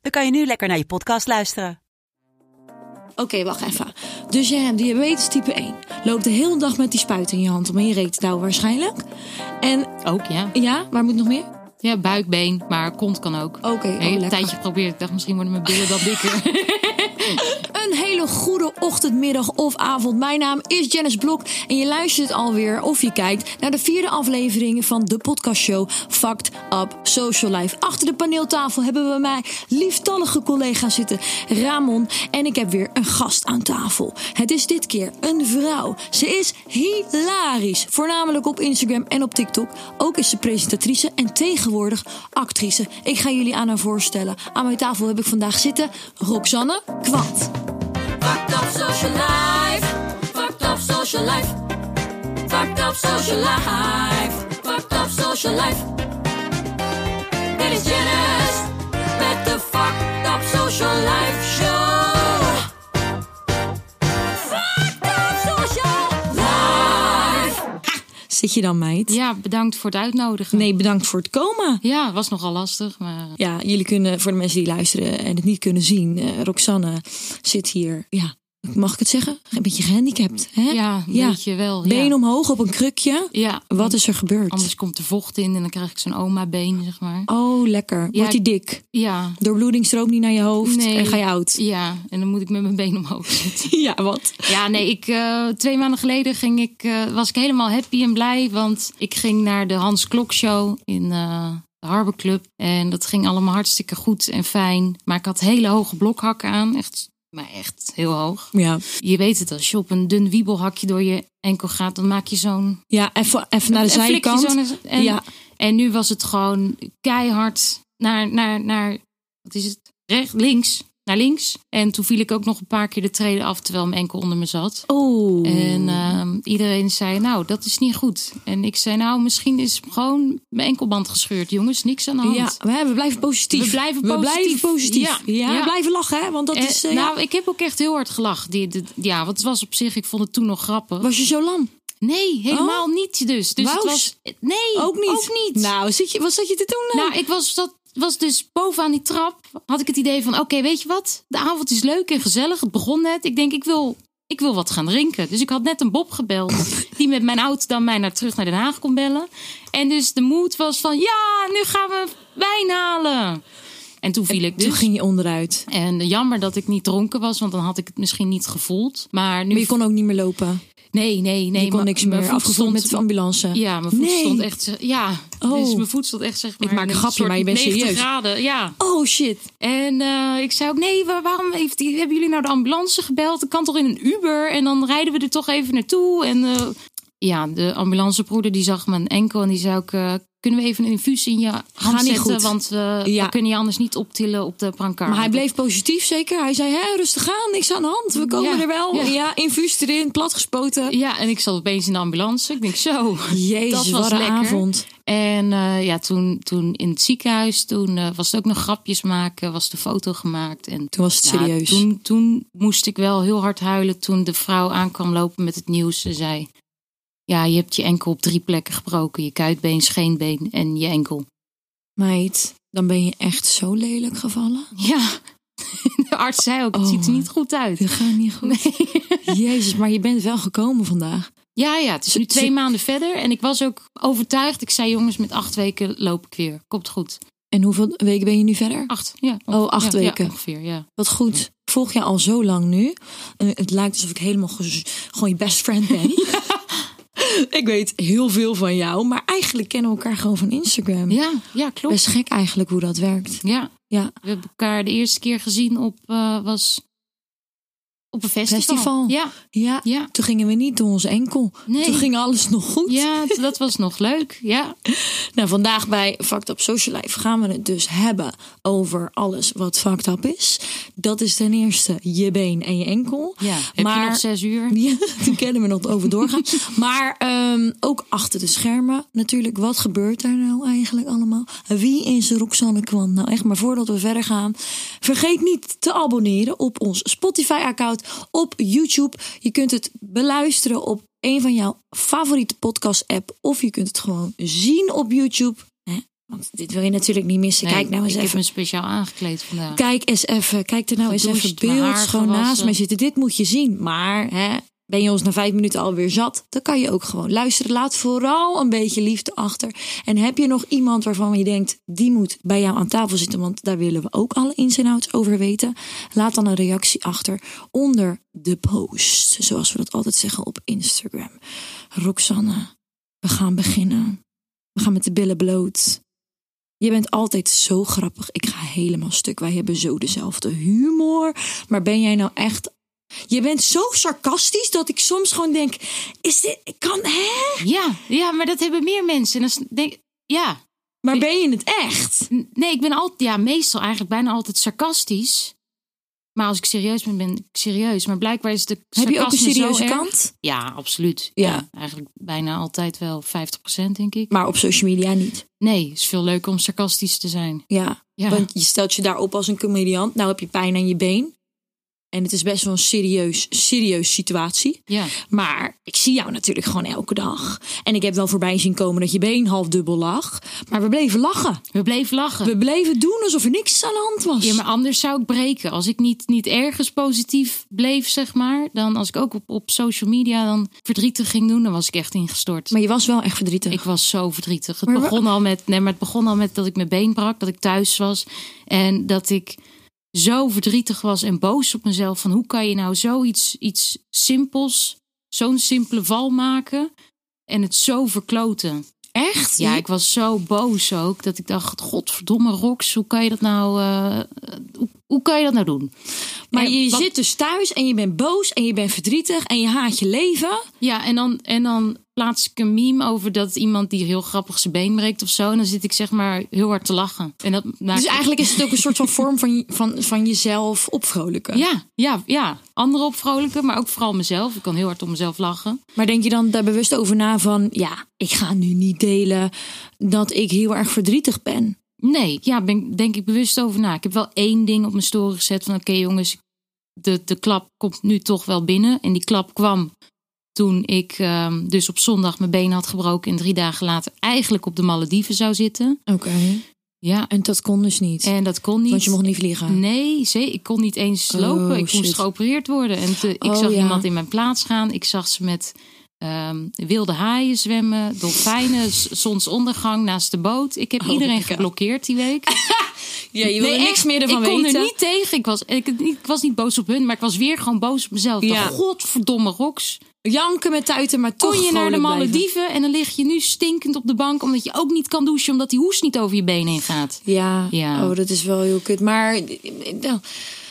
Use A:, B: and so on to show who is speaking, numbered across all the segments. A: dan kan je nu lekker naar je podcast luisteren.
B: Oké, wacht even. Dus jij hebt diabetes type 1. Loopt de hele dag met die spuit in je hand om in je reet te douwen waarschijnlijk. En
C: Ook, ja.
B: ja, waar moet nog meer?
C: Ja, buikbeen, maar kont kan ook.
B: Oké, oh,
C: Ik heb
B: lekker.
C: een tijdje geprobeerd. Ik dacht, misschien worden mijn billen wat dikker.
B: Een hele goede ochtend, middag of avond. Mijn naam is Janice Blok en je luistert alweer of je kijkt naar de vierde aflevering van de podcastshow Fucked Up Social Life. Achter de paneeltafel hebben we mij lieftallige collega's zitten, Ramon en ik heb weer een gast aan tafel. Het is dit keer een vrouw. Ze is hilarisch, voornamelijk op Instagram en op TikTok. Ook is ze presentatrice en tegenwoordig actrice. Ik ga jullie aan haar voorstellen. Aan mijn tafel heb ik vandaag zitten Roxanne Kwant. Fucked up social life. Fucked up social life. Fucked up social life. Fucked up social life. Dit is Janice met de Fucked up social life show. Fucked up social life. Zit je dan, meid?
C: ja, bedankt voor het uitnodigen.
B: Nee, bedankt voor het komen.
C: Ja, was nogal lastig, maar...
B: Ja, jullie kunnen, voor de mensen die luisteren en het niet kunnen zien, eh, Roxanne zit hier, ja, mag ik het zeggen? Een beetje gehandicapt, hè?
C: Ja, een beetje wel, ja.
B: Been omhoog op een krukje.
C: Ja,
B: Wat is er gebeurd?
C: anders komt er vocht in en dan krijg ik zo'n oma-been, zeg maar.
B: Oh, lekker. Wordt die
C: ik-
B: dik?
C: Ja.
B: Doorbloeding stroomt niet naar je hoofd
C: Nee.
B: en ga je oud.
C: Ja, en dan moet ik met mijn been omhoog zitten.
B: Ja, wat?
C: Ja, nee, ik, eh, twee maanden geleden ging ik, eh, was ik helemaal happy en blij. Want ik ging naar de Hans Klok Show in eh, de Harbor Club. En dat ging allemaal hartstikke goed en fijn. Maar ik had hele hoge blokhakken aan. Echt, maar echt heel hoog.
B: Ja,
C: Je weet het, als je op een dun wiebelhakje door je enkel gaat, dan maak je zo'n
B: ja even, even naar de
C: een flikje
B: zijkant.
C: zo'n- en,
B: Ja.
C: en nu was het gewoon keihard naar, naar, naar wat is het? Recht, links, naar links. En toen viel ik ook nog een paar keer de treden af terwijl mijn enkel onder me zat.
B: Oh.
C: En ehm, iedereen zei, nou, dat is niet goed. En ik zei, nou, misschien is gewoon mijn enkelband gescheurd, jongens. Niks aan de hand.
B: ja, we, we blijven positief.
C: We blijven
B: We
C: positief.
B: blijven positief.
C: Ja,
B: Ja,
C: ja.
B: we blijven lachen, hè? Want dat
C: En,
B: is... eh,
C: nou, ik heb ook echt heel hard gelachen. Die, die- ja, wat was op zich, ik vond het toen nog grappig.
B: was je zo lam?
C: Nee, helemaal niet dus. Dus het
B: Wauws.
C: was... Nee,
B: Oh? Ook niet.
C: Ook niet.
B: Nou, zit je, wat zat je te doen dan?
C: Nou, ik was, dat, was dus bovenaan die trap. Had ik het idee van: oké, weet je wat? De avond is leuk en gezellig. Het begon net. Ik denk, ik wil, ik wil wat gaan drinken. Dus ik had net een Bob gebeld. die met mijn auto dan mij naar, terug naar Den Haag kon bellen. En dus de moed was van: ja, nu gaan we wijn halen. En toen viel ik
B: Toen
C: dus.
B: ging je onderuit.
C: En jammer dat ik niet dronken was, want dan had ik het misschien niet gevoeld. Maar nu.
B: Maar je kon ook niet meer lopen.
C: nee, nee, nee.
B: Je kon
C: maar-
B: niks
C: mijn
B: meer.
C: voet
B: Afgevoerd met de
C: stond-
B: ambulance.
C: ja, mijn voet
B: Nee.
C: stond echt. zeg- Ja, dus
B: Oh.
C: mijn voet stond echt zeg maar.
B: maak een
C: in
B: grapje,
C: soort
B: maar je bent
C: 90
B: serieus.
C: graden, ja.
B: Oh, shit.
C: En eh, ik zei ook, nee, waar- waarom heeft die, hebben jullie nou de ambulance gebeld? Ik kan toch in een Uber? En dan rijden we er toch even naartoe. En eh, ja, de ambulancebroeder die zag mijn enkel en die zei ook... eh, kunnen we even een infuus in je hand
B: niet
C: zetten?
B: goed.
C: Want we,
B: Ja.
C: we kunnen je anders niet optillen op de brancard.
B: Maar hij bleef positief, zeker. Hij zei, hè, rustig aan, niks aan de hand. We komen
C: Ja,
B: er wel. Ja,
C: ja.
B: infuus erin, platgespoten.
C: Ja, en ik zat opeens in de ambulance. Ik denk, zo, dat
B: Jezus,
C: was
B: wat een
C: lekker.
B: avond.
C: En eh, ja, toen, toen in het ziekenhuis, toen eh, was het ook nog grapjes maken, was de foto gemaakt. En
B: Toen was het
C: Nou,
B: serieus.
C: toen, toen moest ik wel heel hard huilen toen de vrouw aankwam lopen met het nieuws. Ze zei, ja, je hebt je enkel op drie plekken gebroken. Je kuitbeen, scheenbeen en je enkel.
B: Meid, dan ben je echt zo lelijk gevallen.
C: Ja, de arts zei ook, het
B: Oh,
C: ziet er niet goed uit.
B: Dit gaat niet goed. Jezus, maar je bent wel gekomen vandaag.
C: Ja, ja, het is nu
B: Ze-
C: twee
B: ze-
C: maanden verder. En ik was ook overtuigd. Ik zei, jongens, met acht weken loop ik weer. Komt goed.
B: En hoeveel weken ben je nu verder?
C: Acht, ja.
B: Oh,
C: ongeveer.
B: acht
C: Ja, ja,
B: weken.
C: ongeveer, ja.
B: Wat goed. Ik Volg je al zo lang nu. Eh, het lijkt alsof ik helemaal gez- gewoon je best friend ben. Ik weet heel veel van jou, maar eigenlijk kennen we elkaar gewoon van Instagram.
C: Ja, ja, klopt.
B: Best gek eigenlijk hoe dat werkt.
C: Ja,
B: Ja,
C: we hebben elkaar de eerste keer gezien op, eh, was Op een festival.
B: Festival.
C: Ja,
B: Ja,
C: Ja.
B: toen gingen we niet door onze enkel.
C: Nee.
B: Toen ging alles nog goed.
C: ja, dat was nog leuk. Ja.
B: Nou, vandaag bij Fucked Up Social Life gaan we het dus hebben over alles wat fucked up is. Dat is ten eerste je been en je enkel.
C: Ja, heb je nog zes uur?
B: Ja, toen kennen we nog over doorgaan. maar ehm, ook achter de schermen natuurlijk. Wat gebeurt daar nou eigenlijk allemaal? Wie is Roxanne Kwan? Nou echt, maar voordat we verder gaan... vergeet niet te abonneren op ons Spotify-account, op YouTube. Je kunt het beluisteren op een van jouw favoriete podcast-app... of je kunt het gewoon zien op YouTube. Hè? Want dit wil je natuurlijk niet missen.
C: Nee,
B: Kijk nou eens
C: ik
B: even.
C: heb me speciaal aangekleed vandaag.
B: Kijk eens even, kijk er nou eens even
C: Gedoucht, mijn haar
B: beeldschoon naast
C: gewassen.
B: mij zitten. Dit moet je zien. Maar hè, ben je ons na vijf minuten alweer zat, dan kan je ook gewoon luisteren. Laat vooral een beetje liefde achter. En heb je nog iemand waarvan je denkt, die moet bij jou aan tafel zitten, want daar willen we ook alle ins en outs over weten. Laat dan een reactie achter onder de post, zoals we dat altijd zeggen op Instagram. Roxanne, we gaan beginnen. We gaan met de billen bloot. Je bent altijd zo grappig. Ik ga helemaal stuk. Wij hebben zo dezelfde humor. Maar ben jij nou echt. Je bent zo sarcastisch dat ik soms gewoon denk: is dit. Kan hè?
C: Ja, ja, maar dat hebben meer mensen. En dan denk ja.
B: Maar ben je het echt?
C: N- Nee, ik ben altijd, ja, meestal eigenlijk bijna altijd sarcastisch. Maar als ik serieus ben, ben ik serieus. Maar blijkbaar is de
B: Heb je ook een
C: sarcasme zo
B: serieuze
C: erg.
B: kant?
C: Ja, absoluut.
B: Ja.
C: Ja. eigenlijk bijna altijd wel 50% denk ik.
B: Maar op social media niet.
C: Nee, het is veel leuker om sarcastisch te zijn.
B: Ja.
C: Ja.
B: Want je stelt je daarop als een comediant. Nou heb je pijn aan je been. En het is best wel een serieus, serieus situatie.
C: Ja.
B: Maar ik zie jou natuurlijk gewoon elke dag. En ik heb wel voorbij zien komen dat je been half dubbel lag. Maar we bleven lachen.
C: We bleven lachen.
B: We bleven doen alsof er niks aan de hand was.
C: Oh. Ja, maar anders zou ik breken. Als ik niet, niet ergens positief bleef, zeg maar. Dan als ik ook op, op social media dan verdrietig ging doen, dan was ik echt ingestort.
B: Maar je was wel echt verdrietig.
C: Ik was zo verdrietig. Het
B: Maar wa-
C: begon, al met, nee, maar het begon al met dat ik mijn been brak, dat ik thuis was. En dat ik zo verdrietig was en boos op mezelf. Van hoe kan je nou zoiets iets simpels, zo'n simpele val maken en het zo verkloten?
B: echt?
C: Ja, ik was zo boos ook dat ik dacht: Godverdomme, Rox, hoe kan je dat nou, eh, hoe, hoe kan je dat nou doen?
B: maar
C: En
B: je
C: wat-
B: zit dus thuis en je bent boos en je bent verdrietig en je haat je leven.
C: Ja, en dan, en dan plaats ik een meme over dat iemand die heel grappig zijn been breekt of zo. En dan zit ik zeg maar heel hard te lachen. En dat maakt
B: Dus eigenlijk is het ook een soort van vorm van, je- van, van jezelf opvrolijken.
C: Ja, ja, ja. Anderen opvrolijken, maar ook vooral mezelf. Ik kan heel hard om mezelf lachen.
B: Maar denk je dan daar bewust over na van... ja, ik ga nu niet delen dat ik heel erg verdrietig ben.
C: Nee, ja, ben, ik- denk ik bewust over na. Ik heb wel één ding op mijn story gezet van... oké jongens, de, de klap komt nu toch wel binnen. En die klap kwam toen ik ehm, dus op zondag mijn been had gebroken... en drie dagen later eigenlijk op de Malediven zou zitten.
B: Oké.
C: Ja,
B: En dat kon dus niet.
C: en dat kon niet.
B: Want je mocht niet vliegen.
C: Nee, zee, ik kon niet eens
B: Oh,
C: lopen. ik
B: shit.
C: moest geopereerd worden. En te- ik
B: Oh,
C: zag
B: ja.
C: iemand in mijn plaats gaan. Ik zag ze met ehm, wilde haaien zwemmen, dolfijnen, z- zonsondergang naast de boot. Ik heb
B: Oh,
C: iedereen
B: ja.
C: geblokkeerd die week.
B: Ja, je
C: Nee, echt, ik kon er niet tegen. Ik was, ik, ik was niet boos op hun, maar ik was weer gewoon boos op mezelf. Ik
B: Ja.
C: dacht, Godverdomme roks.
B: Janken met tuiten, maar toch
C: Kon je naar de
B: vrolijk blijven.
C: Malediven en dan lig je nu stinkend op de bank... omdat je ook niet kan douchen, omdat die hoes niet over je benen heen gaat.
B: Ja,
C: Ja.
B: oh, dat is wel heel kut. Maar, nou,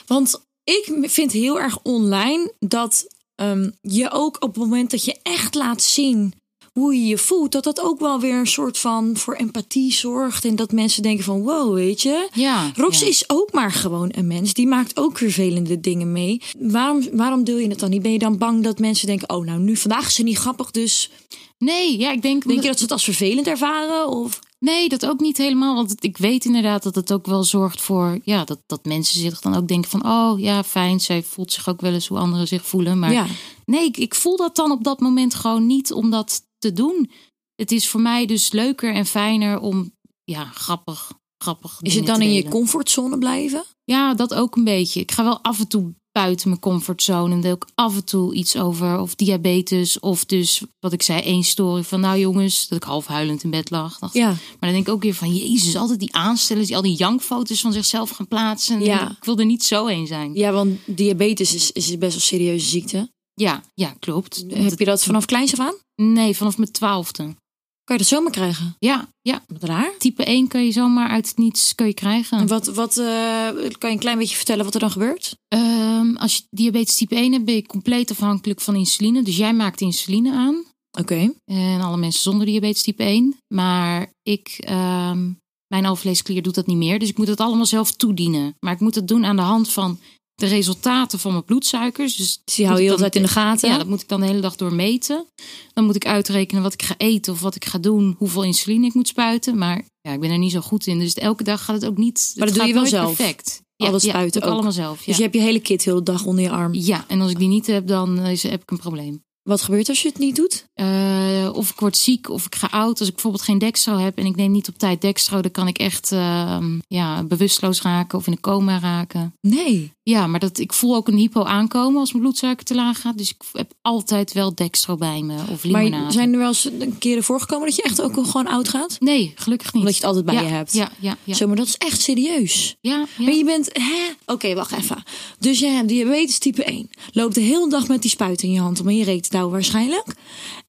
B: want ik vind heel erg online dat ehm, je ook op het moment dat je echt laat zien hoe je je voelt, dat dat ook wel weer een soort van voor empathie zorgt. En dat mensen denken van, wow, weet je.
C: Ja,
B: Rox
C: ja.
B: is ook maar gewoon een mens. Die maakt ook vervelende dingen mee. Waarom, waarom deel je het dan niet? Ben je dan bang dat mensen denken, oh, nou, nu vandaag is ze niet grappig, dus
C: Nee, ja, ik denk...
B: denk je dat ze het als vervelend ervaren? Of
C: Nee, dat ook niet helemaal. Want het- ik weet inderdaad dat het ook wel zorgt voor... Ja, dat, dat mensen zich dan ook denken van... Oh ja, fijn, zij voelt zich ook wel eens hoe anderen zich voelen. Maar
B: Ja.
C: nee, ik, ik voel dat dan op dat moment gewoon niet om dat te doen. Het is voor mij dus leuker en fijner om... Ja, grappig, grappig
B: is
C: dingen
B: het dan
C: te
B: in je
C: delen.
B: comfortzone blijven?
C: Ja, dat ook een beetje. Ik ga wel af en toe buiten mijn comfortzone en deel ook af en toe iets over of diabetes of dus wat ik zei één story van nou jongens dat ik half huilend in bed lag. Dacht,
B: Ja.
C: Maar dan denk ik ook weer van jezus altijd die aanstellers die al die jankfoto's van zichzelf gaan plaatsen.
B: Ja.
C: Ik wil er niet zo een zijn. Ja,
B: Ja, want diabetes is, is best wel serieuze ziekte.
C: ja, klopt. Eh,
B: Heb je dat vanaf kleins af aan?
C: Nee, vanaf mijn twaalfde.
B: Kan je dat zomaar krijgen?
C: Ja, ja.
B: Wat raar.
C: Type 1 kun je zomaar uit het niets kun je krijgen.
B: En wat, wat eh, kan je een klein beetje vertellen wat er dan gebeurt?
C: Ehm, als je diabetes type 1 hebt, ben je compleet afhankelijk van insuline. Dus jij maakt insuline aan.
B: Oké.
C: En alle mensen zonder diabetes type 1. Maar ik, ehm, mijn alvleesklier doet dat niet meer. Dus ik moet het allemaal zelf toedienen. Maar ik moet het doen aan de hand van de resultaten van mijn bloedsuikers. Dus
B: Dus die hou je
C: moet
B: heel
C: ik
B: de tijd in de
C: dan-
B: gaten. Dus
C: Ja, dat moet ik dan de hele dag door meten. Dan moet ik uitrekenen wat ik ga eten of wat ik ga doen. Hoeveel insuline ik moet spuiten. Maar ja, ik ben er niet zo goed in. Dus elke dag gaat het ook niet.
B: Maar
C: het
B: dat doe
C: gaat
B: je wel
C: nooit
B: zelf?
C: Perfect.
B: Alles
C: ja,
B: spuiten
C: doe ik
B: ook?
C: allemaal zelf. Ja.
B: Dus je hebt je hele kit heel de dag onder je arm.
C: Ja, en als ik die niet heb, dan is, heb ik een probleem.
B: Wat gebeurt als je het niet doet?
C: Eh, of ik word ziek of ik ga oud. Als ik bijvoorbeeld geen dextro heb en ik neem niet op tijd dextro, dan kan ik echt ehm, ja, bewusteloos raken of in een coma raken.
B: Nee.
C: Ja, maar dat, ik voel ook een hypo aankomen als mijn bloedsuiker te laag gaat. Dus ik heb altijd wel dextro bij me of limonade.
B: Maar zijn er wel eens een keren voorgekomen dat je echt ook gewoon oud gaat?
C: Nee, gelukkig niet.
B: Omdat je het altijd bij
C: Ja,
B: je hebt.
C: Ja, ja, ja.
B: Zo, maar dat is echt serieus.
C: ja, ja.
B: Maar je bent, hè? Oké, wacht even. Dus jij hebt diabetes type 1. Loopt de hele dag met die spuit in je hand om in je reet te douwen waarschijnlijk.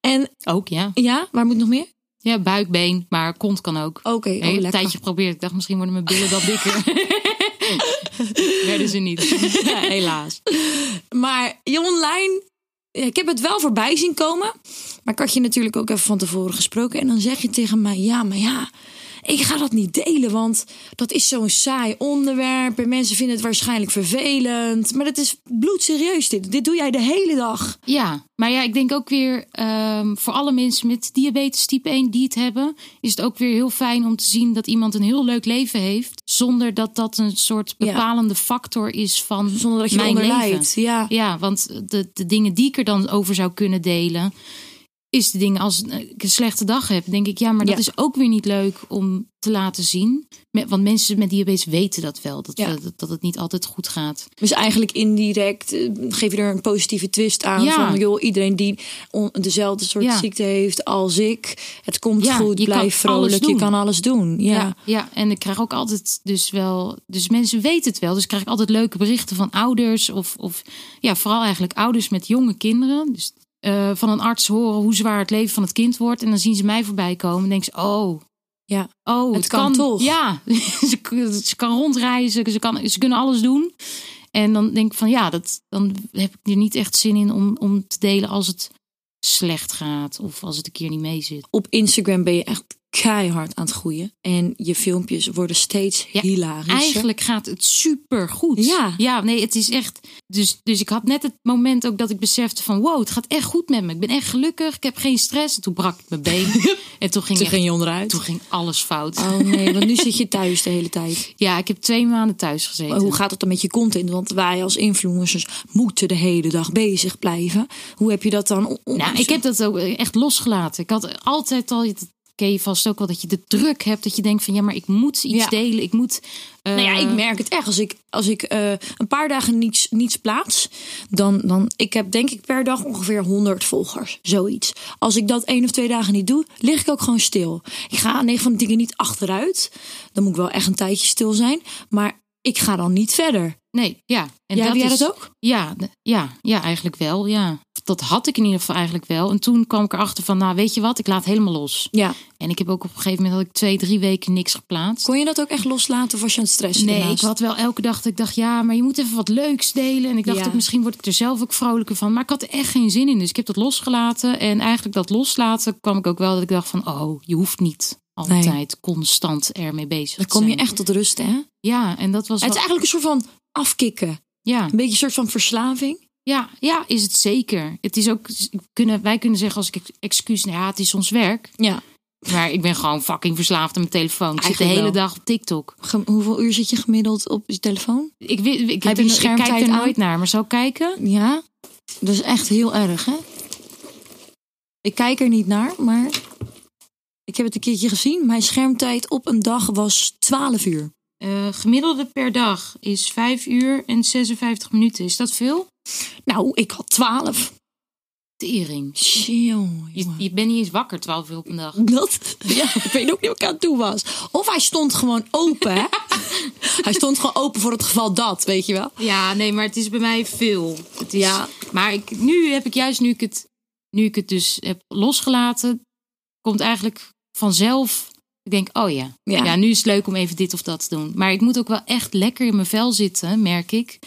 B: En
C: Ook, ja.
B: ja, waar moet nog meer?
C: Ja, buikbeen, maar kont kan ook.
B: Oké,
C: Ik
B: oh,
C: heb een
B: lekker.
C: tijdje geprobeerd. Ik dacht, misschien worden mijn billen dan dikker. Werden ze niet.
B: helaas. Maar je online, ja, ik heb het wel voorbij zien komen. Maar ik had je natuurlijk ook even van tevoren gesproken. En dan zeg je tegen mij, ja, maar ja, ik ga dat niet delen. Want dat is zo'n saai onderwerp. En mensen vinden het waarschijnlijk vervelend. Maar dat is bloedserieus dit. Dit doe jij de hele dag.
C: Ja, maar ja, ik denk ook weer ehm, voor alle mensen met diabetes type 1 die het hebben, is het ook weer heel fijn om te zien dat iemand een heel leuk leven heeft, zonder dat dat een soort
B: Ja.
C: bepalende factor is van
B: Zonder dat je
C: mijn
B: eronder
C: leven.
B: lijdt. Ja.
C: Ja, want de, de dingen die ik er dan over zou kunnen delen, is de dingen als ik een slechte dag heb, denk ik, ja, maar dat
B: Ja.
C: is ook weer niet leuk om te laten zien. Met- Want mensen met diabetes weten dat wel, dat,
B: Ja.
C: we- dat, dat het niet altijd goed gaat.
B: Dus eigenlijk indirect eh, geef je er een positieve twist aan.
C: Ja.
B: Van joh, iedereen die on- dezelfde soort
C: Ja.
B: ziekte heeft als ik. Het komt
C: Ja,
B: goed,
C: je kan
B: blijf vrolijk,
C: alles
B: je
C: doen.
B: kan alles doen. Ja.
C: Ja, ja, en ik krijg ook altijd dus wel... Dus mensen weten het wel. Dus krijg ik altijd leuke berichten van ouders. Of, of ja, vooral eigenlijk ouders met jonge kinderen. Dus eh, van een arts horen hoe zwaar het leven van het kind wordt. En dan zien ze mij voorbij komen. En denken ze, oh...
B: Ja.
C: Oh, het,
B: kan toch?
C: Ja, ze, ze kan rondreizen, ze, kan, ze kunnen alles doen. En dan denk ik van ja, dat, dan heb ik er niet echt zin in om, om te delen als het slecht gaat. Of als het een keer niet mee zit.
B: Op Instagram ben je echt keihard aan het groeien. En je filmpjes worden steeds
C: Ja,
B: hilarischer.
C: Eigenlijk gaat het supergoed.
B: Ja.
C: Ja, nee, het is echt. Dus, dus ik had net het moment ook dat ik besefte van wow, het gaat echt goed met me. Ik ben echt gelukkig. Ik heb geen stress. En toen brak ik mijn been. en toen ging,
B: Toen
C: echt-
B: ging je onderuit.
C: toen ging alles fout.
B: Oh nee, want nu zit je thuis de hele tijd.
C: Ja, ik heb twee maanden thuis gezeten.
B: Maar hoe gaat het dan met je content? Want wij als influencers moeten de hele dag bezig blijven. Hoe heb je dat dan? on-
C: Nou, ik heb dat ook echt losgelaten. Ik had altijd al, dat ken je vast ook wel, dat je de druk hebt. Dat je denkt van ja, maar ik moet iets
B: Ja.
C: delen. Ik moet. eh,
B: Nou ja, ik merk het echt. Als ik, als ik eh, een paar dagen niets, niets plaats, dan, dan... Ik heb denk ik per dag ongeveer 100 volgers. Zoiets. Als ik dat één of twee dagen niet doe, lig ik ook gewoon stil. Ik ga negen van de dingen niet achteruit. Dan moet ik wel echt een tijdje stil zijn. Maar ik ga dan niet verder.
C: Nee, ja. En
B: Ja, heb jij
C: is-
B: dat ook?
C: Ja, d- ja, ja, eigenlijk wel. Ja. Dat had ik in ieder geval eigenlijk wel. En toen kwam ik erachter van, nou weet je wat, ik laat helemaal los.
B: Ja.
C: En ik heb ook op een gegeven moment had ik twee, drie weken niks geplaatst.
B: Kon je dat ook echt loslaten of was je aan het stressen
C: Nee,
B: daarnaast?
C: ik had wel elke dag dat ik dacht, ja, maar je moet even wat leuks delen. En ik dacht
B: Ja.
C: ook, misschien word ik er zelf ook vrolijker van. Maar ik had er echt geen zin in, dus ik heb dat losgelaten. En eigenlijk dat loslaten kwam ik ook wel dat ik dacht van, oh, je hoeft niet altijd constant ermee bezig
B: Dan
C: te
B: kom je
C: zijn.
B: echt tot rust, hè?
C: Ja, en dat was
B: Het is
C: wel-
B: eigenlijk een soort van afkicken.
C: ja.
B: Een beetje een soort van verslaving.
C: Ja, ja, is het zeker. Het is ook, kunnen, wij kunnen zeggen als ik excuus, nou ja, het is ons werk.
B: Ja.
C: Maar ik ben gewoon fucking verslaafd aan mijn telefoon. Ik zit de
B: Eigenlijk
C: hele
B: wel.
C: dag op TikTok.
B: Ge- hoeveel uur zit je gemiddeld op je telefoon?
C: Ik, weet- ik,
B: Heb
C: heb
B: je
C: er- ik
B: schermtijd
C: kijk er
B: aan?
C: nooit naar, maar zou ik kijken?
B: Ja, dat is echt heel erg, hè? Ik kijk er niet naar, maar ik heb het een keertje gezien. Mijn schermtijd op een dag was 12 uur.
C: Eh, gemiddelde per dag is 5 uur en 56 minuten. Is dat veel?
B: Nou, ik had 12.
C: Tering.
B: Chill,
C: Je,
B: jongen.
C: je bent niet eens wakker 12 uur op een dag.
B: Dat? Ja, ik weet ook niet wat ik aan toe was. Of hij stond gewoon open, hè? hij stond gewoon open voor het geval dat, weet je wel?
C: Ja, nee, maar het is bij mij veel. Het is,
B: Ja.
C: Maar ik, nu heb ik juist, nu ik het, nu ik het dus heb losgelaten, komt eigenlijk vanzelf. Ik denk, oh ja.
B: Ja.
C: ja, nu is het leuk om even dit of dat te doen. Maar ik moet ook wel echt lekker in mijn vel zitten, merk ik.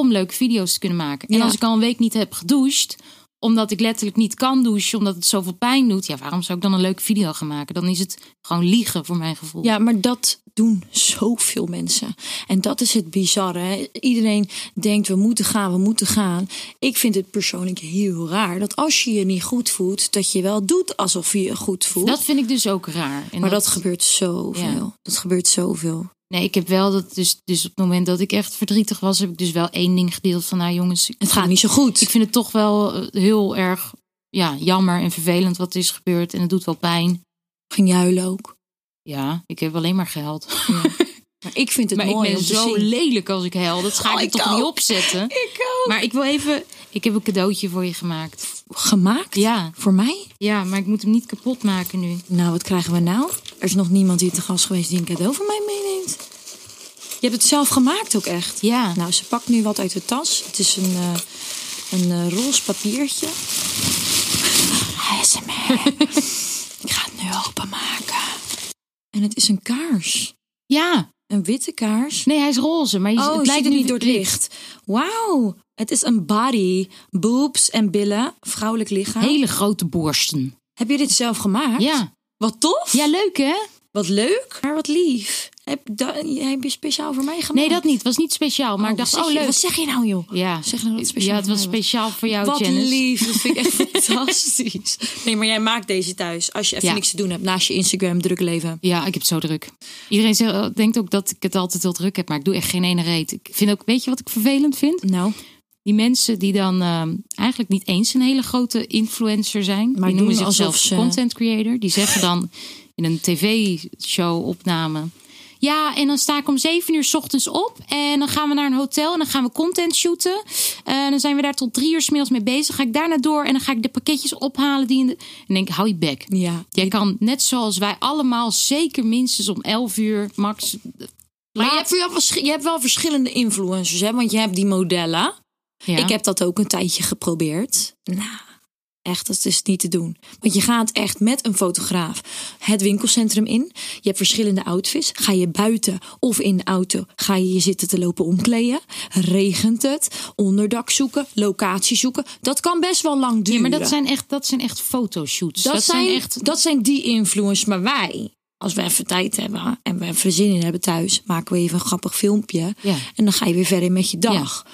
C: Om leuke video's te kunnen maken. En
B: Ja.
C: als ik al een week niet heb gedoucht, omdat ik letterlijk niet kan douchen, omdat het zoveel pijn doet. Ja, waarom zou ik dan een leuke video gaan maken? Dan is het gewoon liegen voor mijn gevoel.
B: Ja, maar dat doen zoveel mensen. En dat is het bizarre. Hè? Iedereen denkt, we moeten gaan, we moeten gaan. Ik vind het persoonlijk heel raar dat als je je niet goed voelt, dat je wel doet alsof je je goed voelt.
C: Dat vind ik dus ook raar. En
B: maar dat, gebeurt zoveel.
C: Ja.
B: Dat gebeurt zoveel.
C: Nee, ik heb wel dat. Dus, dus op het moment dat ik echt verdrietig was, heb ik dus wel één ding gedeeld van, nou jongens, ik
B: Het gaat niet zo
C: Ik
B: goed.
C: vind het toch wel eh, heel erg ja, jammer en vervelend wat is gebeurd. En het doet wel pijn.
B: Ging huilen ook.
C: Ja, ik heb alleen maar gehuild.
B: Maar ik vind het
C: maar ik
B: mooi
C: ben
B: om te
C: zo
B: zien.
C: lelijk als ik huil. Dat ga
B: Oh,
C: ik er
B: ik
C: toch
B: ook.
C: niet opzetten.
B: Ik ook.
C: Maar ik wil even... Ik heb een cadeautje voor je gemaakt.
B: Gemaakt?
C: Ja,
B: Voor mij?
C: ja maar ik moet hem niet kapot maken nu.
B: Nou, wat krijgen we nou? Er is nog niemand hier te gast geweest die een cadeau van mij meeneemt. Je hebt het zelf gemaakt ook echt.
C: Ja.
B: Nou, ze pakt nu wat uit de tas. Het is een, eh, een eh, roze papiertje. ASMR. Ik ga het nu openmaken. En het is een kaars.
C: Ja,
B: Een witte kaars.
C: nee, hij is roze. Maar je,
B: Oh,
C: het lijkt
B: er
C: nu
B: niet door het licht. Wauw. Het is een body. Boobs en billen. Vrouwelijk lichaam.
C: Hele grote borsten.
B: Heb je dit zelf gemaakt?
C: Ja.
B: Wat tof.
C: ja, leuk hè?
B: Wat leuk, maar wat lief. Heb, da- heb je speciaal voor mij gemaakt?
C: Nee, dat niet. Het was niet speciaal. Maar ik dacht,
B: Oh. wat zeg
C: oh
B: je-
C: leuk.
B: Wat zeg je nou, joh?
C: Ja.
B: Zeg nou dat het speciaal
C: ja, het
B: voor
C: was
B: mij was.
C: speciaal voor jou,
B: wat
C: Janice.
B: lief. Dat vind ik echt fantastisch. Nee, maar jij maakt deze thuis. Als je even
C: Ja.
B: niks te doen hebt naast je Instagram, druk leven.
C: Ja, ik heb het zo druk. Iedereen zegt, eh, denkt ook dat ik het altijd heel druk heb, maar ik doe echt geen ene reet. Ik vind ook, weet je wat ik vervelend vind?
B: Nou,
C: Die mensen die dan ehm, eigenlijk niet eens een hele grote influencer zijn.
B: Maar
C: die noemen
B: doen alsof
C: zichzelf
B: ze-
C: content creator. Die zeggen dan in een tv-show opname. Ja, en dan sta ik om zeven uur 's ochtends op. En dan gaan we naar een hotel en dan gaan we content shooten. En dan zijn we daar tot drie uur 's middags mee bezig. Ga ik daarna door en dan ga ik de pakketjes ophalen. Die in de... En denk ik, hou je bek.
B: ja.
C: Jij kan net zoals wij allemaal zeker minstens om 11 uur max.
B: Maar je
C: Laat-
B: hebt, wel vers- je hebt wel verschillende influencers, hè? Want je hebt die modellen.
C: Ja.
B: Ik heb dat ook een tijdje geprobeerd. Nou, echt, dat is niet te doen. Want je gaat echt met een fotograaf het winkelcentrum in. Je hebt verschillende outfits. Ga je buiten of in de auto, ga je je zitten te lopen omkleden. Regent het, onderdak zoeken, locatie zoeken. Dat kan best wel lang
C: Ja,
B: duren.
C: maar dat zijn echt, dat zijn echt fotoshoots.
B: Dus dat, zijn,
C: echt.
B: dat zijn die influencers, maar wij... Als we even tijd hebben en we even zin in hebben thuis, maken we even een grappig filmpje.
C: Ja.
B: En dan ga je weer verder met je dag.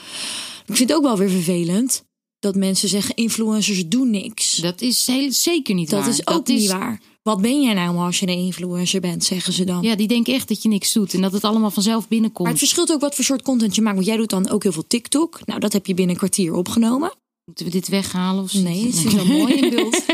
B: Ik vind het ook wel weer vervelend dat mensen zeggen: influencers doen niks. Dat,
C: Dat is heel, zeker niet waar.
B: is ook niet waar. Wat ben jij nou als je een influencer bent, zeggen ze dan.
C: Ja, die denken echt dat je niks doet en dat het allemaal vanzelf binnenkomt.
B: Maar het verschilt ook wat voor soort content je maakt. Want jij doet dan ook heel veel TikTok. Nou, dat heb je binnen een kwartier opgenomen.
C: Moeten we dit weghalen of
B: Nee, het is wel mooi in beeld.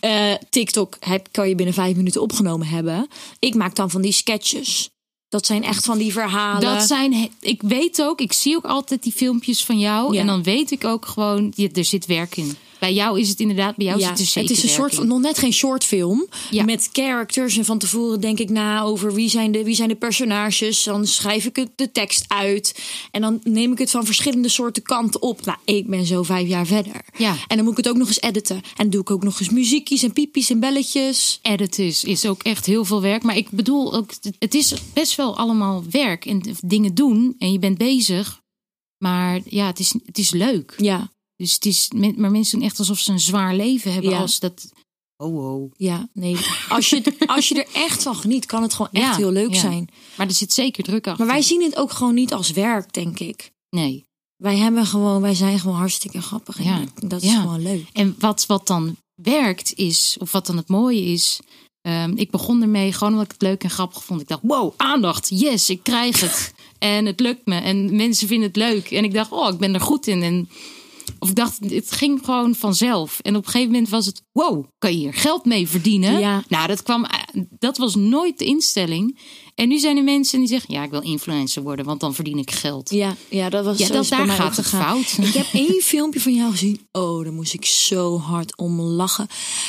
B: Eh, TikTok heb, kan je binnen vijf minuten opgenomen hebben. Ik maak dan van die sketches. Dat zijn echt van die verhalen.
C: Dat zijn, he- ik weet ook, ik zie ook altijd die filmpjes van jou.
B: Ja.
C: En dan weet ik ook gewoon, je, er zit werk in. Bij jou is het inderdaad, bij jou
B: Ja,
C: zit er zeker
B: het is een
C: werk
B: soort
C: in.
B: van, nog net geen short film.
C: Ja.
B: Met characters. En van tevoren denk ik na over wie zijn, de, wie zijn de personages. Dan schrijf ik het, de tekst uit. En dan neem ik het van verschillende soorten kanten op. Nou, ik ben zo vijf jaar verder.
C: Ja.
B: En dan moet ik het ook nog eens editen. En dan doe ik ook nog eens muziekjes en piepjes en belletjes.
C: edit is, is ook echt heel veel werk. Maar ik bedoel ook, het is best wel allemaal werk en dingen doen en je bent bezig. Maar ja, het is, het is leuk.
B: Ja,
C: Dus het is, men- maar mensen doen echt alsof ze een zwaar leven hebben
B: Ja.
C: als dat. Oh, oh.
B: ja, nee. Als je, als je er echt van geniet, kan het gewoon echt
C: Ja,
B: heel leuk
C: ja.
B: zijn.
C: Maar er zit zeker druk achter.
B: Maar wij zien het ook gewoon niet als werk, denk ik.
C: Nee.
B: Wij, hebben gewoon, wij zijn gewoon hartstikke grappig. En
C: Ja.
B: dat is
C: Ja.
B: gewoon leuk.
C: En wat, wat dan werkt is, of wat dan het mooie is. ehm, ik begon ermee gewoon omdat ik het leuk en grappig vond. Ik dacht, wow, aandacht. Yes, ik krijg het. en het lukt me. En mensen vinden het leuk. En ik dacht, oh, ik ben er goed in. En, of ik dacht, het ging gewoon vanzelf. En op een gegeven moment was het, wow, kan je hier geld mee verdienen?
B: Ja.
C: Nou, dat, kwam, dat was nooit de instelling. En nu zijn er mensen die zeggen, ja, ik wil influencer worden, want dan verdien ik geld.
B: Ja, ja dat was
C: Ja,
B: zo
C: dat-
B: is bij
C: daar
B: mij
C: gaat
B: ook
C: het
B: gegaan.
C: fout.
B: Ik heb één filmpje van jou gezien. Oh, daar moest ik zo hard om lachen.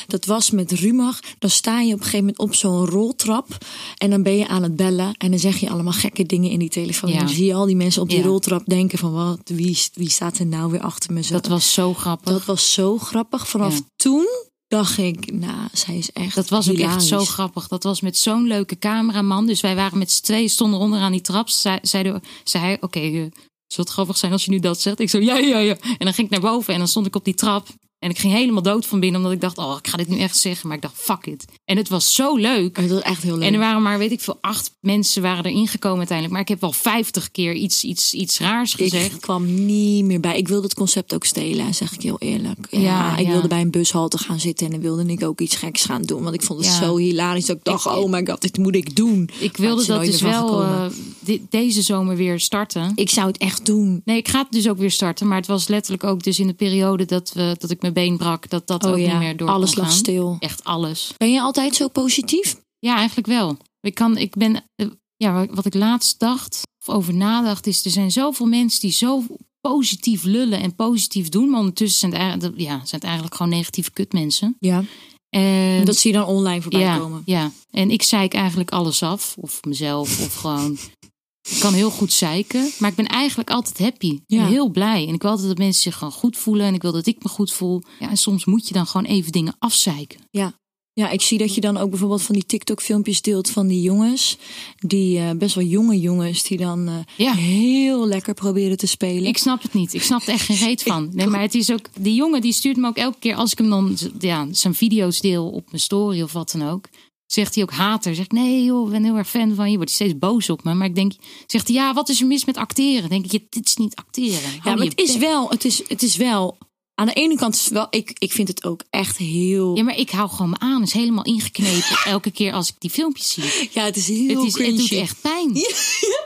B: Dat was met Rumach. Dan sta je op een gegeven moment op zo'n roltrap. En dan ben je aan het bellen. En dan zeg je allemaal gekke dingen in die telefoon.
C: Ja.
B: En dan zie je al die mensen op die
C: Ja.
B: roltrap denken van... Wat, wie, wie staat er nou weer achter me? Zo.
C: Dat was zo grappig.
B: Dat was zo grappig. Vanaf
C: Ja.
B: toen dacht ik, nou, zij is echt
C: Dat was ook echt
B: hilarisch.
C: zo grappig. Dat was met zo'n leuke cameraman. Dus wij waren met z'n tweeën, stonden onderaan die trap. Zei, zeiden we- zei hij, oké, eh, zou het grappig zijn als je nu dat zegt? Ik zo, ja, ja, ja. En dan ging ik naar boven en dan stond ik op die trap. En ik ging helemaal dood van binnen, omdat ik dacht, oh, ik ga dit nu echt zeggen. Maar ik dacht, fuck it. En het was zo leuk.
B: Het was echt heel leuk.
C: En er waren maar, weet ik veel, acht mensen waren erin gekomen uiteindelijk. Maar ik heb wel vijftig keer iets, iets, iets raars gezegd.
B: Ik kwam niet meer bij. Ik wilde het concept ook stelen, zeg ik heel eerlijk. Ja,
C: Ja,
B: ik
C: ja.
B: wilde bij een bushalte gaan zitten en dan wilde ik ook iets geks gaan doen. Want ik vond het
C: Ja.
B: zo hilarisch dat ik dacht,
C: Ik-
B: oh my god, dit moet ik doen.
C: Ik
B: Maar het
C: wilde
B: is
C: dat
B: nooit
C: dus
B: meer van
C: wel
B: gekomen.
C: eh, di- deze zomer weer starten.
B: ik zou het echt doen.
C: Nee, ik ga het dus ook weer starten. Maar het was letterlijk ook dus in de periode dat, we, dat ik mijn been brak. Dat dat
B: Oh
C: ook
B: ja,
C: niet meer door
B: alles
C: kon
B: lag
C: gaan.
B: stil.
C: Echt alles.
B: Ben je altijd zo positief?
C: Ja, eigenlijk wel. Ik, kan, ik ben, eh, ja, wat ik laatst dacht of over nadacht is... Er zijn zoveel mensen die zo positief lullen en positief doen. Maar ondertussen zijn het, eigenlijk- ja, zijn het eigenlijk gewoon negatieve kutmensen.
B: Ja.
C: En,
B: Dat zie je dan online voorbij
C: ja,
B: komen.
C: ja, en ik zeik eigenlijk alles af. Of mezelf, of gewoon... Ik kan heel goed zeiken, maar ik ben eigenlijk altijd happy.
B: Ja.
C: En heel blij. En ik wil altijd dat mensen zich gewoon goed voelen. En ik wil dat ik me goed voel. Ja, en soms moet je dan gewoon even dingen afzeiken.
B: Ja, ik zie dat je dan ook bijvoorbeeld van die TikTok-filmpjes deelt van die jongens. Die eh, best wel jonge jongens, die dan eh,
C: Ja.
B: heel lekker proberen te spelen.
C: Ik snap het niet. Ik snap er echt geen reet van. Nee, maar het is ook... Die jongen die stuurt me ook elke keer als ik hem dan ja, zijn video's deel op mijn story of wat dan ook. Zegt hij ook hater. Zegt nee joh, ik ben heel erg fan van je. Wordt hij steeds boos op me. Maar ik denk... Zegt hij ja, wat is er mis met acteren? Denk ik, ja, dit is niet acteren.
B: Ja,
C: Hou
B: maar
C: je
B: het is
C: bek.
B: wel, het is, het is wel. Aan de ene kant is het wel, ik, ik vind het ook echt heel.
C: Ja, maar ik hou gewoon mijn anus helemaal ingeknepen elke keer als ik die filmpjes zie.
B: Ja, het is heel
C: Het, is, het doet
B: cringy.
C: echt pijn.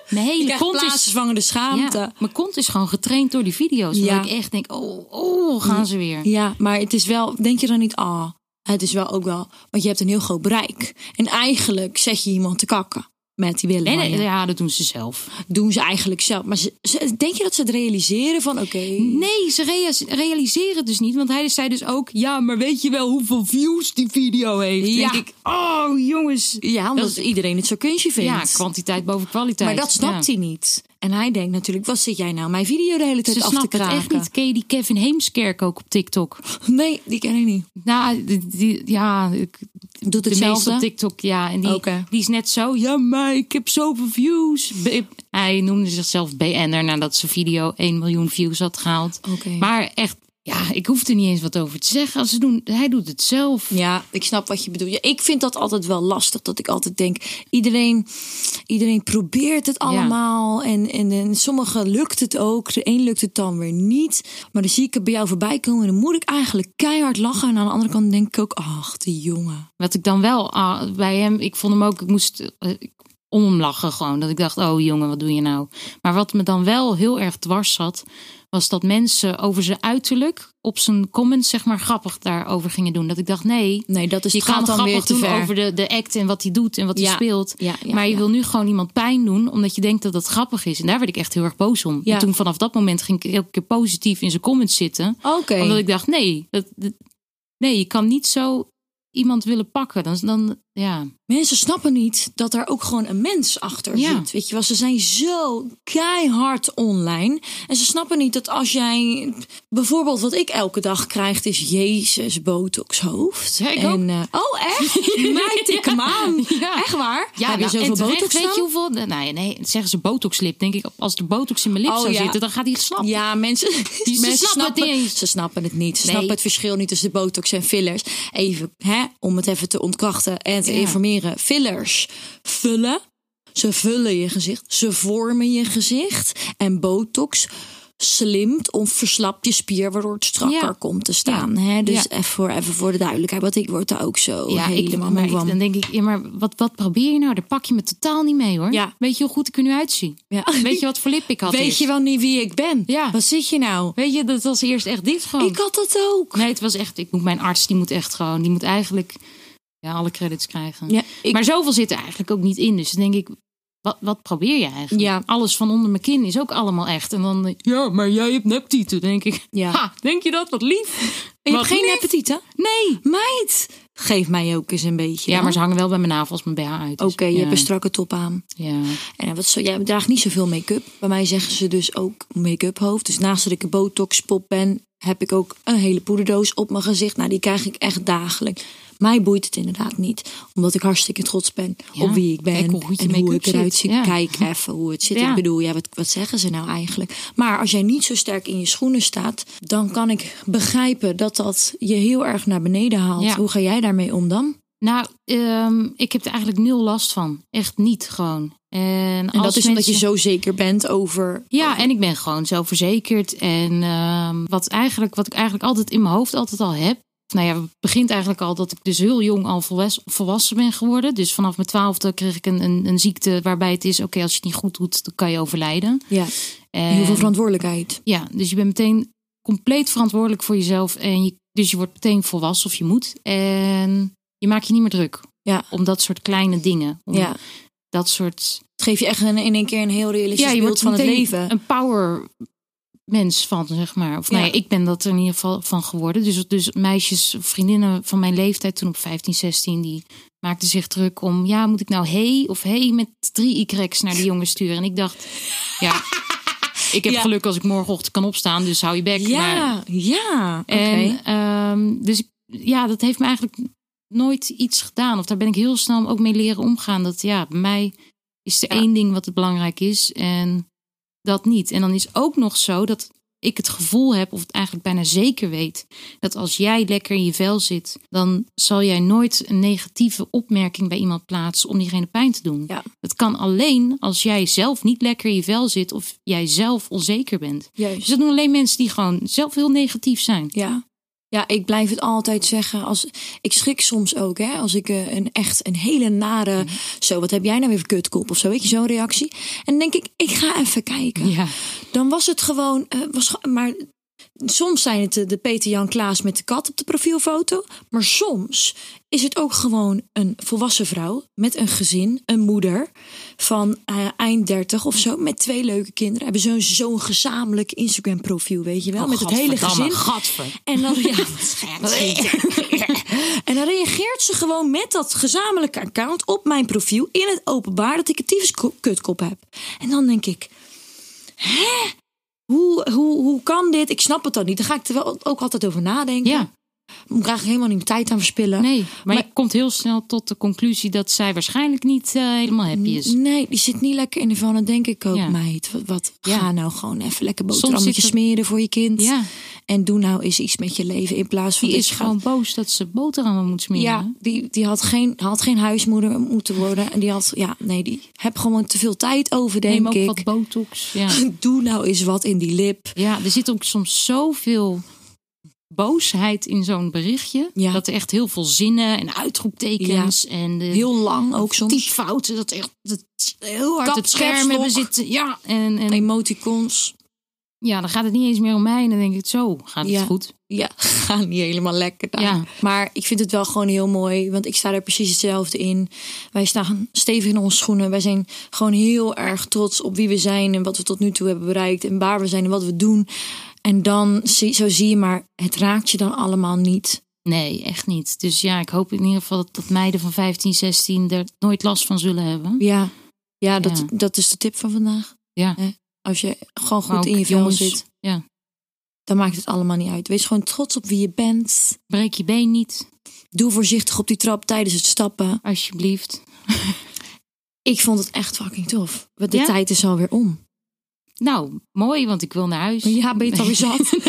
C: Mijn
B: Je
C: hele
B: krijgt
C: kont is...
B: plaatsvervangende schaamte.
C: Ja,
B: Ja.
C: mijn kont is gewoon getraind door die video's.
B: Ja.
C: Dat ik echt denk, oh, oh, gaan ze weer.
B: maar het is wel, denk je dan niet, ah, het is wel ook wel, want je hebt een heel groot bereik. En eigenlijk zeg je iemand te kakken met die willen.
C: Nee, nee, ja, dat doen ze zelf.
B: Doen ze eigenlijk zelf. Maar ze, ze- denk je dat ze het realiseren van, oké.
C: Nee, ze rea- realiseren het dus niet. Want hij zei dus ook... Ja, maar weet je wel hoeveel views die video heeft?
B: Ja.
C: Denk ik, oh jongens.
B: Ja, omdat iedereen het zo kunstje vindt.
C: Ja, kwantiteit boven kwaliteit.
B: maar dat snapt
C: Ja.
B: hij niet. En hij denkt natuurlijk, wat zit jij nou mijn video de hele tijd
C: Ze
B: af te
C: snapt het
B: kraken?
C: echt niet. Ken je die Kevin Heemskerk ook op TikTok?
B: Nee, die ken ik niet.
C: Nou, die, die- ja, ik,
B: Doet
C: de meeste
B: hetzelfde?
C: op TikTok, ja. En die,
B: Oké.
C: die is net zo, ja, maar ik heb zoveel views. B- Hij noemde zichzelf BN'er nadat zijn video 1 miljoen views had gehaald.
B: Oké.
C: Maar echt, ja, ik hoef er niet eens wat over te zeggen. Als ze doen, hij doet het zelf.
B: Ja, ik snap wat je bedoelt. Ja, ik vind dat altijd wel lastig. Dat ik altijd denk, iedereen, iedereen probeert het allemaal. En, en, en sommigen lukt het ook. De een lukt het dan weer niet. Maar dan zie ik het bij jou voorbij komen. En dan moet ik eigenlijk keihard lachen. En aan de andere kant denk ik ook, ach, die jongen.
C: Wat ik dan wel ah, bij hem, ik vond hem ook, ik moest eh, ik- om hem lachen gewoon. Dat ik dacht, oh jongen, wat doe je nou? Maar wat me dan wel heel erg dwars zat, was dat mensen over zijn uiterlijk op zijn comments, zeg maar, grappig daarover gingen doen. Dat ik dacht, nee,
B: Nee, dat is
C: Dus je
B: het gaat
C: kan
B: dan weer
C: grappig
B: te
C: doen
B: ver.
C: over de, de act en wat hij doet en wat hij
B: Ja,
C: speelt.
B: ja, ja,
C: maar je
B: ja.
C: wil nu gewoon iemand pijn doen, omdat je denkt dat dat grappig is. En daar werd ik echt heel erg boos om.
B: Ja.
C: En toen vanaf dat moment ging ik elke keer positief in zijn comments zitten.
B: Oké.
C: Omdat ik dacht, nee, dat, dat- nee, je kan niet zo iemand willen pakken. Dan, dan ja.
B: Mensen snappen niet dat er ook gewoon een mens achter
C: Ja.
B: zit. Weet je wel, ze zijn zo keihard online. En ze snappen niet dat als jij... Bijvoorbeeld wat ik elke dag krijg is... Jezus, botox hoofd.
C: Ja, ik
B: en,
C: ook.
B: eh, oh, echt? Mij tikke
C: Ja.
B: maan.
C: Ja.
B: Echt waar?
C: Ja,
B: Heb je
C: nou,
B: zoveel
C: en terecht,
B: botox
C: Weet je
B: dan?
C: hoeveel? Nee, nee, zeggen ze botoxlip. Denk ik, als de botox in mijn lip
B: Oh,
C: zou
B: ja.
C: zitten, dan gaat hij slap.
B: Ja, mensen, mensen
C: Oh. snappen het niet eens.
B: Ze snappen het niet. Ze
C: Nee.
B: snappen het verschil niet tussen de botox en fillers. Even, hè, om het even te ontkrachten en te
C: Ja.
B: informeren. Fillers vullen. Ze vullen je gezicht. Ze vormen je gezicht. En botox slimt of verslapt je spier, waardoor het strakker
C: Ja.
B: komt te staan. Hè? Dus
C: Ja.
B: even, voor, even voor de duidelijkheid, want ik word daar ook zo
C: Ja, ik,
B: Oh, helemaal moe
C: maar ik-
B: van.
C: dan denk ik, ja, maar wat, wat probeer je nou? Daar pak je me totaal niet mee hoor.
B: Ja.
C: Weet je hoe goed ik er nu uitzie?
B: Ja.
C: Weet je wat voor lip ik had?
B: Weet
C: eerst?
B: je wel niet wie ik ben?
C: Ja.
B: Wat zit je nou?
C: Weet je, dat was eerst echt dit gewoon.
B: Ik had dat ook.
C: Nee, het was echt, ik moet mijn arts, die moet echt gewoon, die moet eigenlijk ja, alle credits krijgen.
B: Ja, ik-
C: Maar zoveel zit er eigenlijk ook niet in. Dus dan denk ik, wat, wat probeer je eigenlijk?
B: Ja.
C: Alles van onder mijn kin is ook allemaal echt. En dan, eh, ja, maar jij hebt neptieten, denk ik.
B: Ja.
C: Ha, denk je dat? Wat lief.
B: Je
C: Wat
B: hebt geen
C: lief.
B: appetit, hè?
C: Nee.
B: Meid, geef mij ook eens een beetje.
C: Ja,
B: dan.
C: maar ze hangen wel bij mijn navel als mijn BH uit. is.
B: Oké, je
C: ja.
B: hebt een strakke top aan.
C: Ja.
B: En wat zo, jij draagt niet zoveel make-up. Bij mij zeggen ze dus ook make-up hoofd. Dus naast dat ik een botox pop ben, heb ik ook een hele poederdoos op mijn gezicht. Nou, die krijg ik echt dagelijks. Mij boeit het inderdaad niet. Omdat ik hartstikke trots ben
C: Ja,
B: op wie ik ben.
C: kijk hoe goed je
B: en hoe
C: make-up
B: ik eruit
C: zit.
B: zie.
C: Ja.
B: Kijk even hoe het zit.
C: Ja.
B: Ik bedoel, ja, wat, wat zeggen ze nou eigenlijk? Maar als jij niet zo sterk in je schoenen staat... dan kan ik begrijpen dat dat je heel erg naar beneden haalt.
C: Ja.
B: Hoe ga jij daarmee om dan?
C: Nou, ehm, ik heb er eigenlijk nul last van. Echt niet gewoon. En,
B: En
C: als
B: dat is omdat je
C: mensen-
B: zo zeker bent over...
C: Ja, en ik ben gewoon zelfverzekerd. En ehm, wat, eigenlijk, wat ik eigenlijk altijd in mijn hoofd altijd al heb. Nou ja, het begint eigenlijk al dat ik dus heel jong al volwes- volwassen ben geworden. Dus vanaf mijn twaalfde kreeg ik een, een, een ziekte waarbij het is... oké, als je het niet goed doet, dan kan je overlijden.
B: Ja,
C: En,
B: heel veel verantwoordelijkheid.
C: Ja, dus je bent meteen compleet verantwoordelijk voor jezelf. En je, dus je wordt meteen volwassen of je moet. En je maakt je niet meer druk
B: Ja.
C: om dat soort kleine dingen. Om
B: Ja.
C: dat soort
B: Het geeft je echt een- in één keer een heel realistisch
C: ja, je
B: beeld
C: wordt
B: dus van het
C: meteen
B: leven.
C: Een power mens van, zeg maar. Of nou
B: Ja.
C: ja, ik ben dat er in ieder geval van geworden. Dus, dus meisjes, vriendinnen van mijn leeftijd toen op 15, 16, die maakten zich druk om, ja, moet ik nou hey of hey met drie Y's naar die jongen sturen? En ik dacht, ja, ik heb
B: Ja.
C: geluk als ik morgenochtend kan opstaan, dus hou je bek. Maar,
B: Ja, ja. Oké.
C: en, ehm, dus ik- ja, dat heeft me eigenlijk nooit iets gedaan. Of daar ben ik heel snel ook mee leren omgaan. Dat ja, bij mij is er
B: Ja.
C: één ding wat het belangrijk is en dat niet. En dan is ook nog zo dat ik het gevoel heb, of het eigenlijk bijna zeker weet, dat als jij lekker in je vel zit, dan zal jij nooit een negatieve opmerking bij iemand plaatsen om diegene pijn te doen.
B: Ja.
C: Dat kan alleen als jij zelf niet lekker in je vel zit of jij zelf onzeker bent. Dus
B: Juist.
C: dat doen alleen mensen die gewoon zelf heel negatief zijn.
B: Ja. Ja, ik blijf het altijd zeggen. Als, ik schrik soms ook, hè. Als ik eh, een echt een hele nare...
C: Mhm.
B: Zo, wat heb jij nou weer voor kutkop? Of zo, weet je, zo'n reactie. En dan denk ik, ik ga even kijken.
C: Ja,
B: Dan was het gewoon... eh, was, ge- maar soms zijn het de, de Peter-Jan Klaas met de kat op de profielfoto. Maar soms is het ook gewoon een volwassen vrouw... met een gezin, een moeder van eh, eind 30 of zo... met twee leuke kinderen. Hebben zo'n zo'n gezamenlijk Instagram-profiel, weet je
C: Oh,
B: wel? met het hele gezin.
C: Gadver.
B: En dan, ja, en dan reageert ze gewoon met dat gezamenlijke account op mijn profiel in het openbaar dat ik een tyfus kutkop heb. En dan denk ik, hè? Hoe, hoe, hoe kan dit? Ik snap het dan niet. Dan ga ik er wel ook altijd over nadenken.
C: Ja,
B: Dan krijg ik helemaal niet mijn tijd aan verspillen.
C: nee. Maar,
B: Maar-
C: je komt heel snel tot de conclusie dat zij waarschijnlijk niet eh, helemaal happy is.
B: Nee, die zit niet lekker in de van. Dat denk ik ook,
C: Ja.
B: meid. Wat, wat-
C: Ja.
B: Ga nou gewoon even lekker
C: Soms
B: boterhammetje
C: zit er-
B: smeren voor je kind.
C: Ja.
B: En doe nou eens iets met je leven in plaats van
C: Die
B: dat
C: is
B: je gaat-
C: gewoon boos dat ze boterhammen moet smeren.
B: Ja, die, die had, geen, had geen huismoeder moeten worden. En die had, ja, nee, die heb gewoon te veel tijd over,
C: Neem
B: denk
C: ook
B: ik.
C: wat botox. Ja.
B: Doe nou eens wat in die lip.
C: ja, er zit ook soms zoveel boosheid in zo'n berichtje.
B: Ja.
C: Dat er echt heel veel zinnen en uitroeptekens en eh, de
B: Heel lang ook soms.
C: typfouten. Dat echt dat heel hard het
B: Kap,
C: scherm hebben
B: capslok.
C: zitten. Ja, en, en
B: Emoticons.
C: ja, dan gaat het niet eens meer om mij. En dan denk ik, zo gaat het
B: Ja.
C: goed.
B: Ja, gaan niet helemaal lekker daar.
C: Ja.
B: Maar ik vind het wel gewoon heel mooi. Want ik sta er precies hetzelfde in. Wij staan stevig in onze schoenen. Wij zijn gewoon heel erg trots op wie we zijn. En wat we tot nu toe hebben bereikt. En waar we zijn en wat we doen. En dan, zie, zo zie je maar, het raakt je dan allemaal niet.
C: Nee, echt niet. Dus ja, ik hoop in ieder geval dat, dat meiden van 15, 16 er nooit last van zullen hebben.
B: Ja, ja, dat,
C: Ja.
B: dat is de tip van vandaag.
C: Ja.
B: Hè? Als je gewoon
C: Maar
B: goed
C: ook
B: in je vel
C: jongens,
B: zit,
C: Ja.
B: dan maakt het allemaal niet uit. Wees gewoon trots op wie je bent.
C: Breek je been niet,
B: Doe voorzichtig op die trap tijdens het stappen.
C: alsjeblieft.
B: Ik vond het echt fucking tof. Want de
C: Ja?
B: tijd is alweer om.
C: Nou, mooi, want ik wil naar huis.
B: Ja, ben je het alweer zat?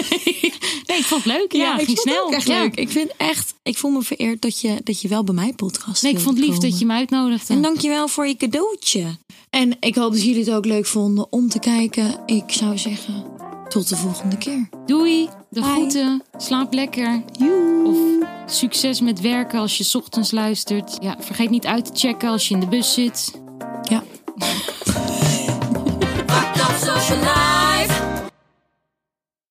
C: Nee, ik vond het leuk. Ja,
B: ik vond
C: ging snel.
B: het ook echt
C: Ja.
B: leuk. Ik vind echt, ik voel me vereerd dat je, dat je wel bij mij podcast
C: Nee, ik
B: wilde
C: vond het lief
B: komen.
C: dat je me uitnodigde.
B: En dankjewel voor je cadeautje. En ik hoop dat jullie het ook leuk vonden om te kijken. Ik zou zeggen, tot de volgende keer.
C: Doei, de
B: Bye.
C: groeten. Slaap lekker.
B: Joe.
C: Of succes met werken als je 's ochtends luistert. Ja, vergeet niet uit te checken als je in de bus zit.
B: Ja.
D: fucked up social life.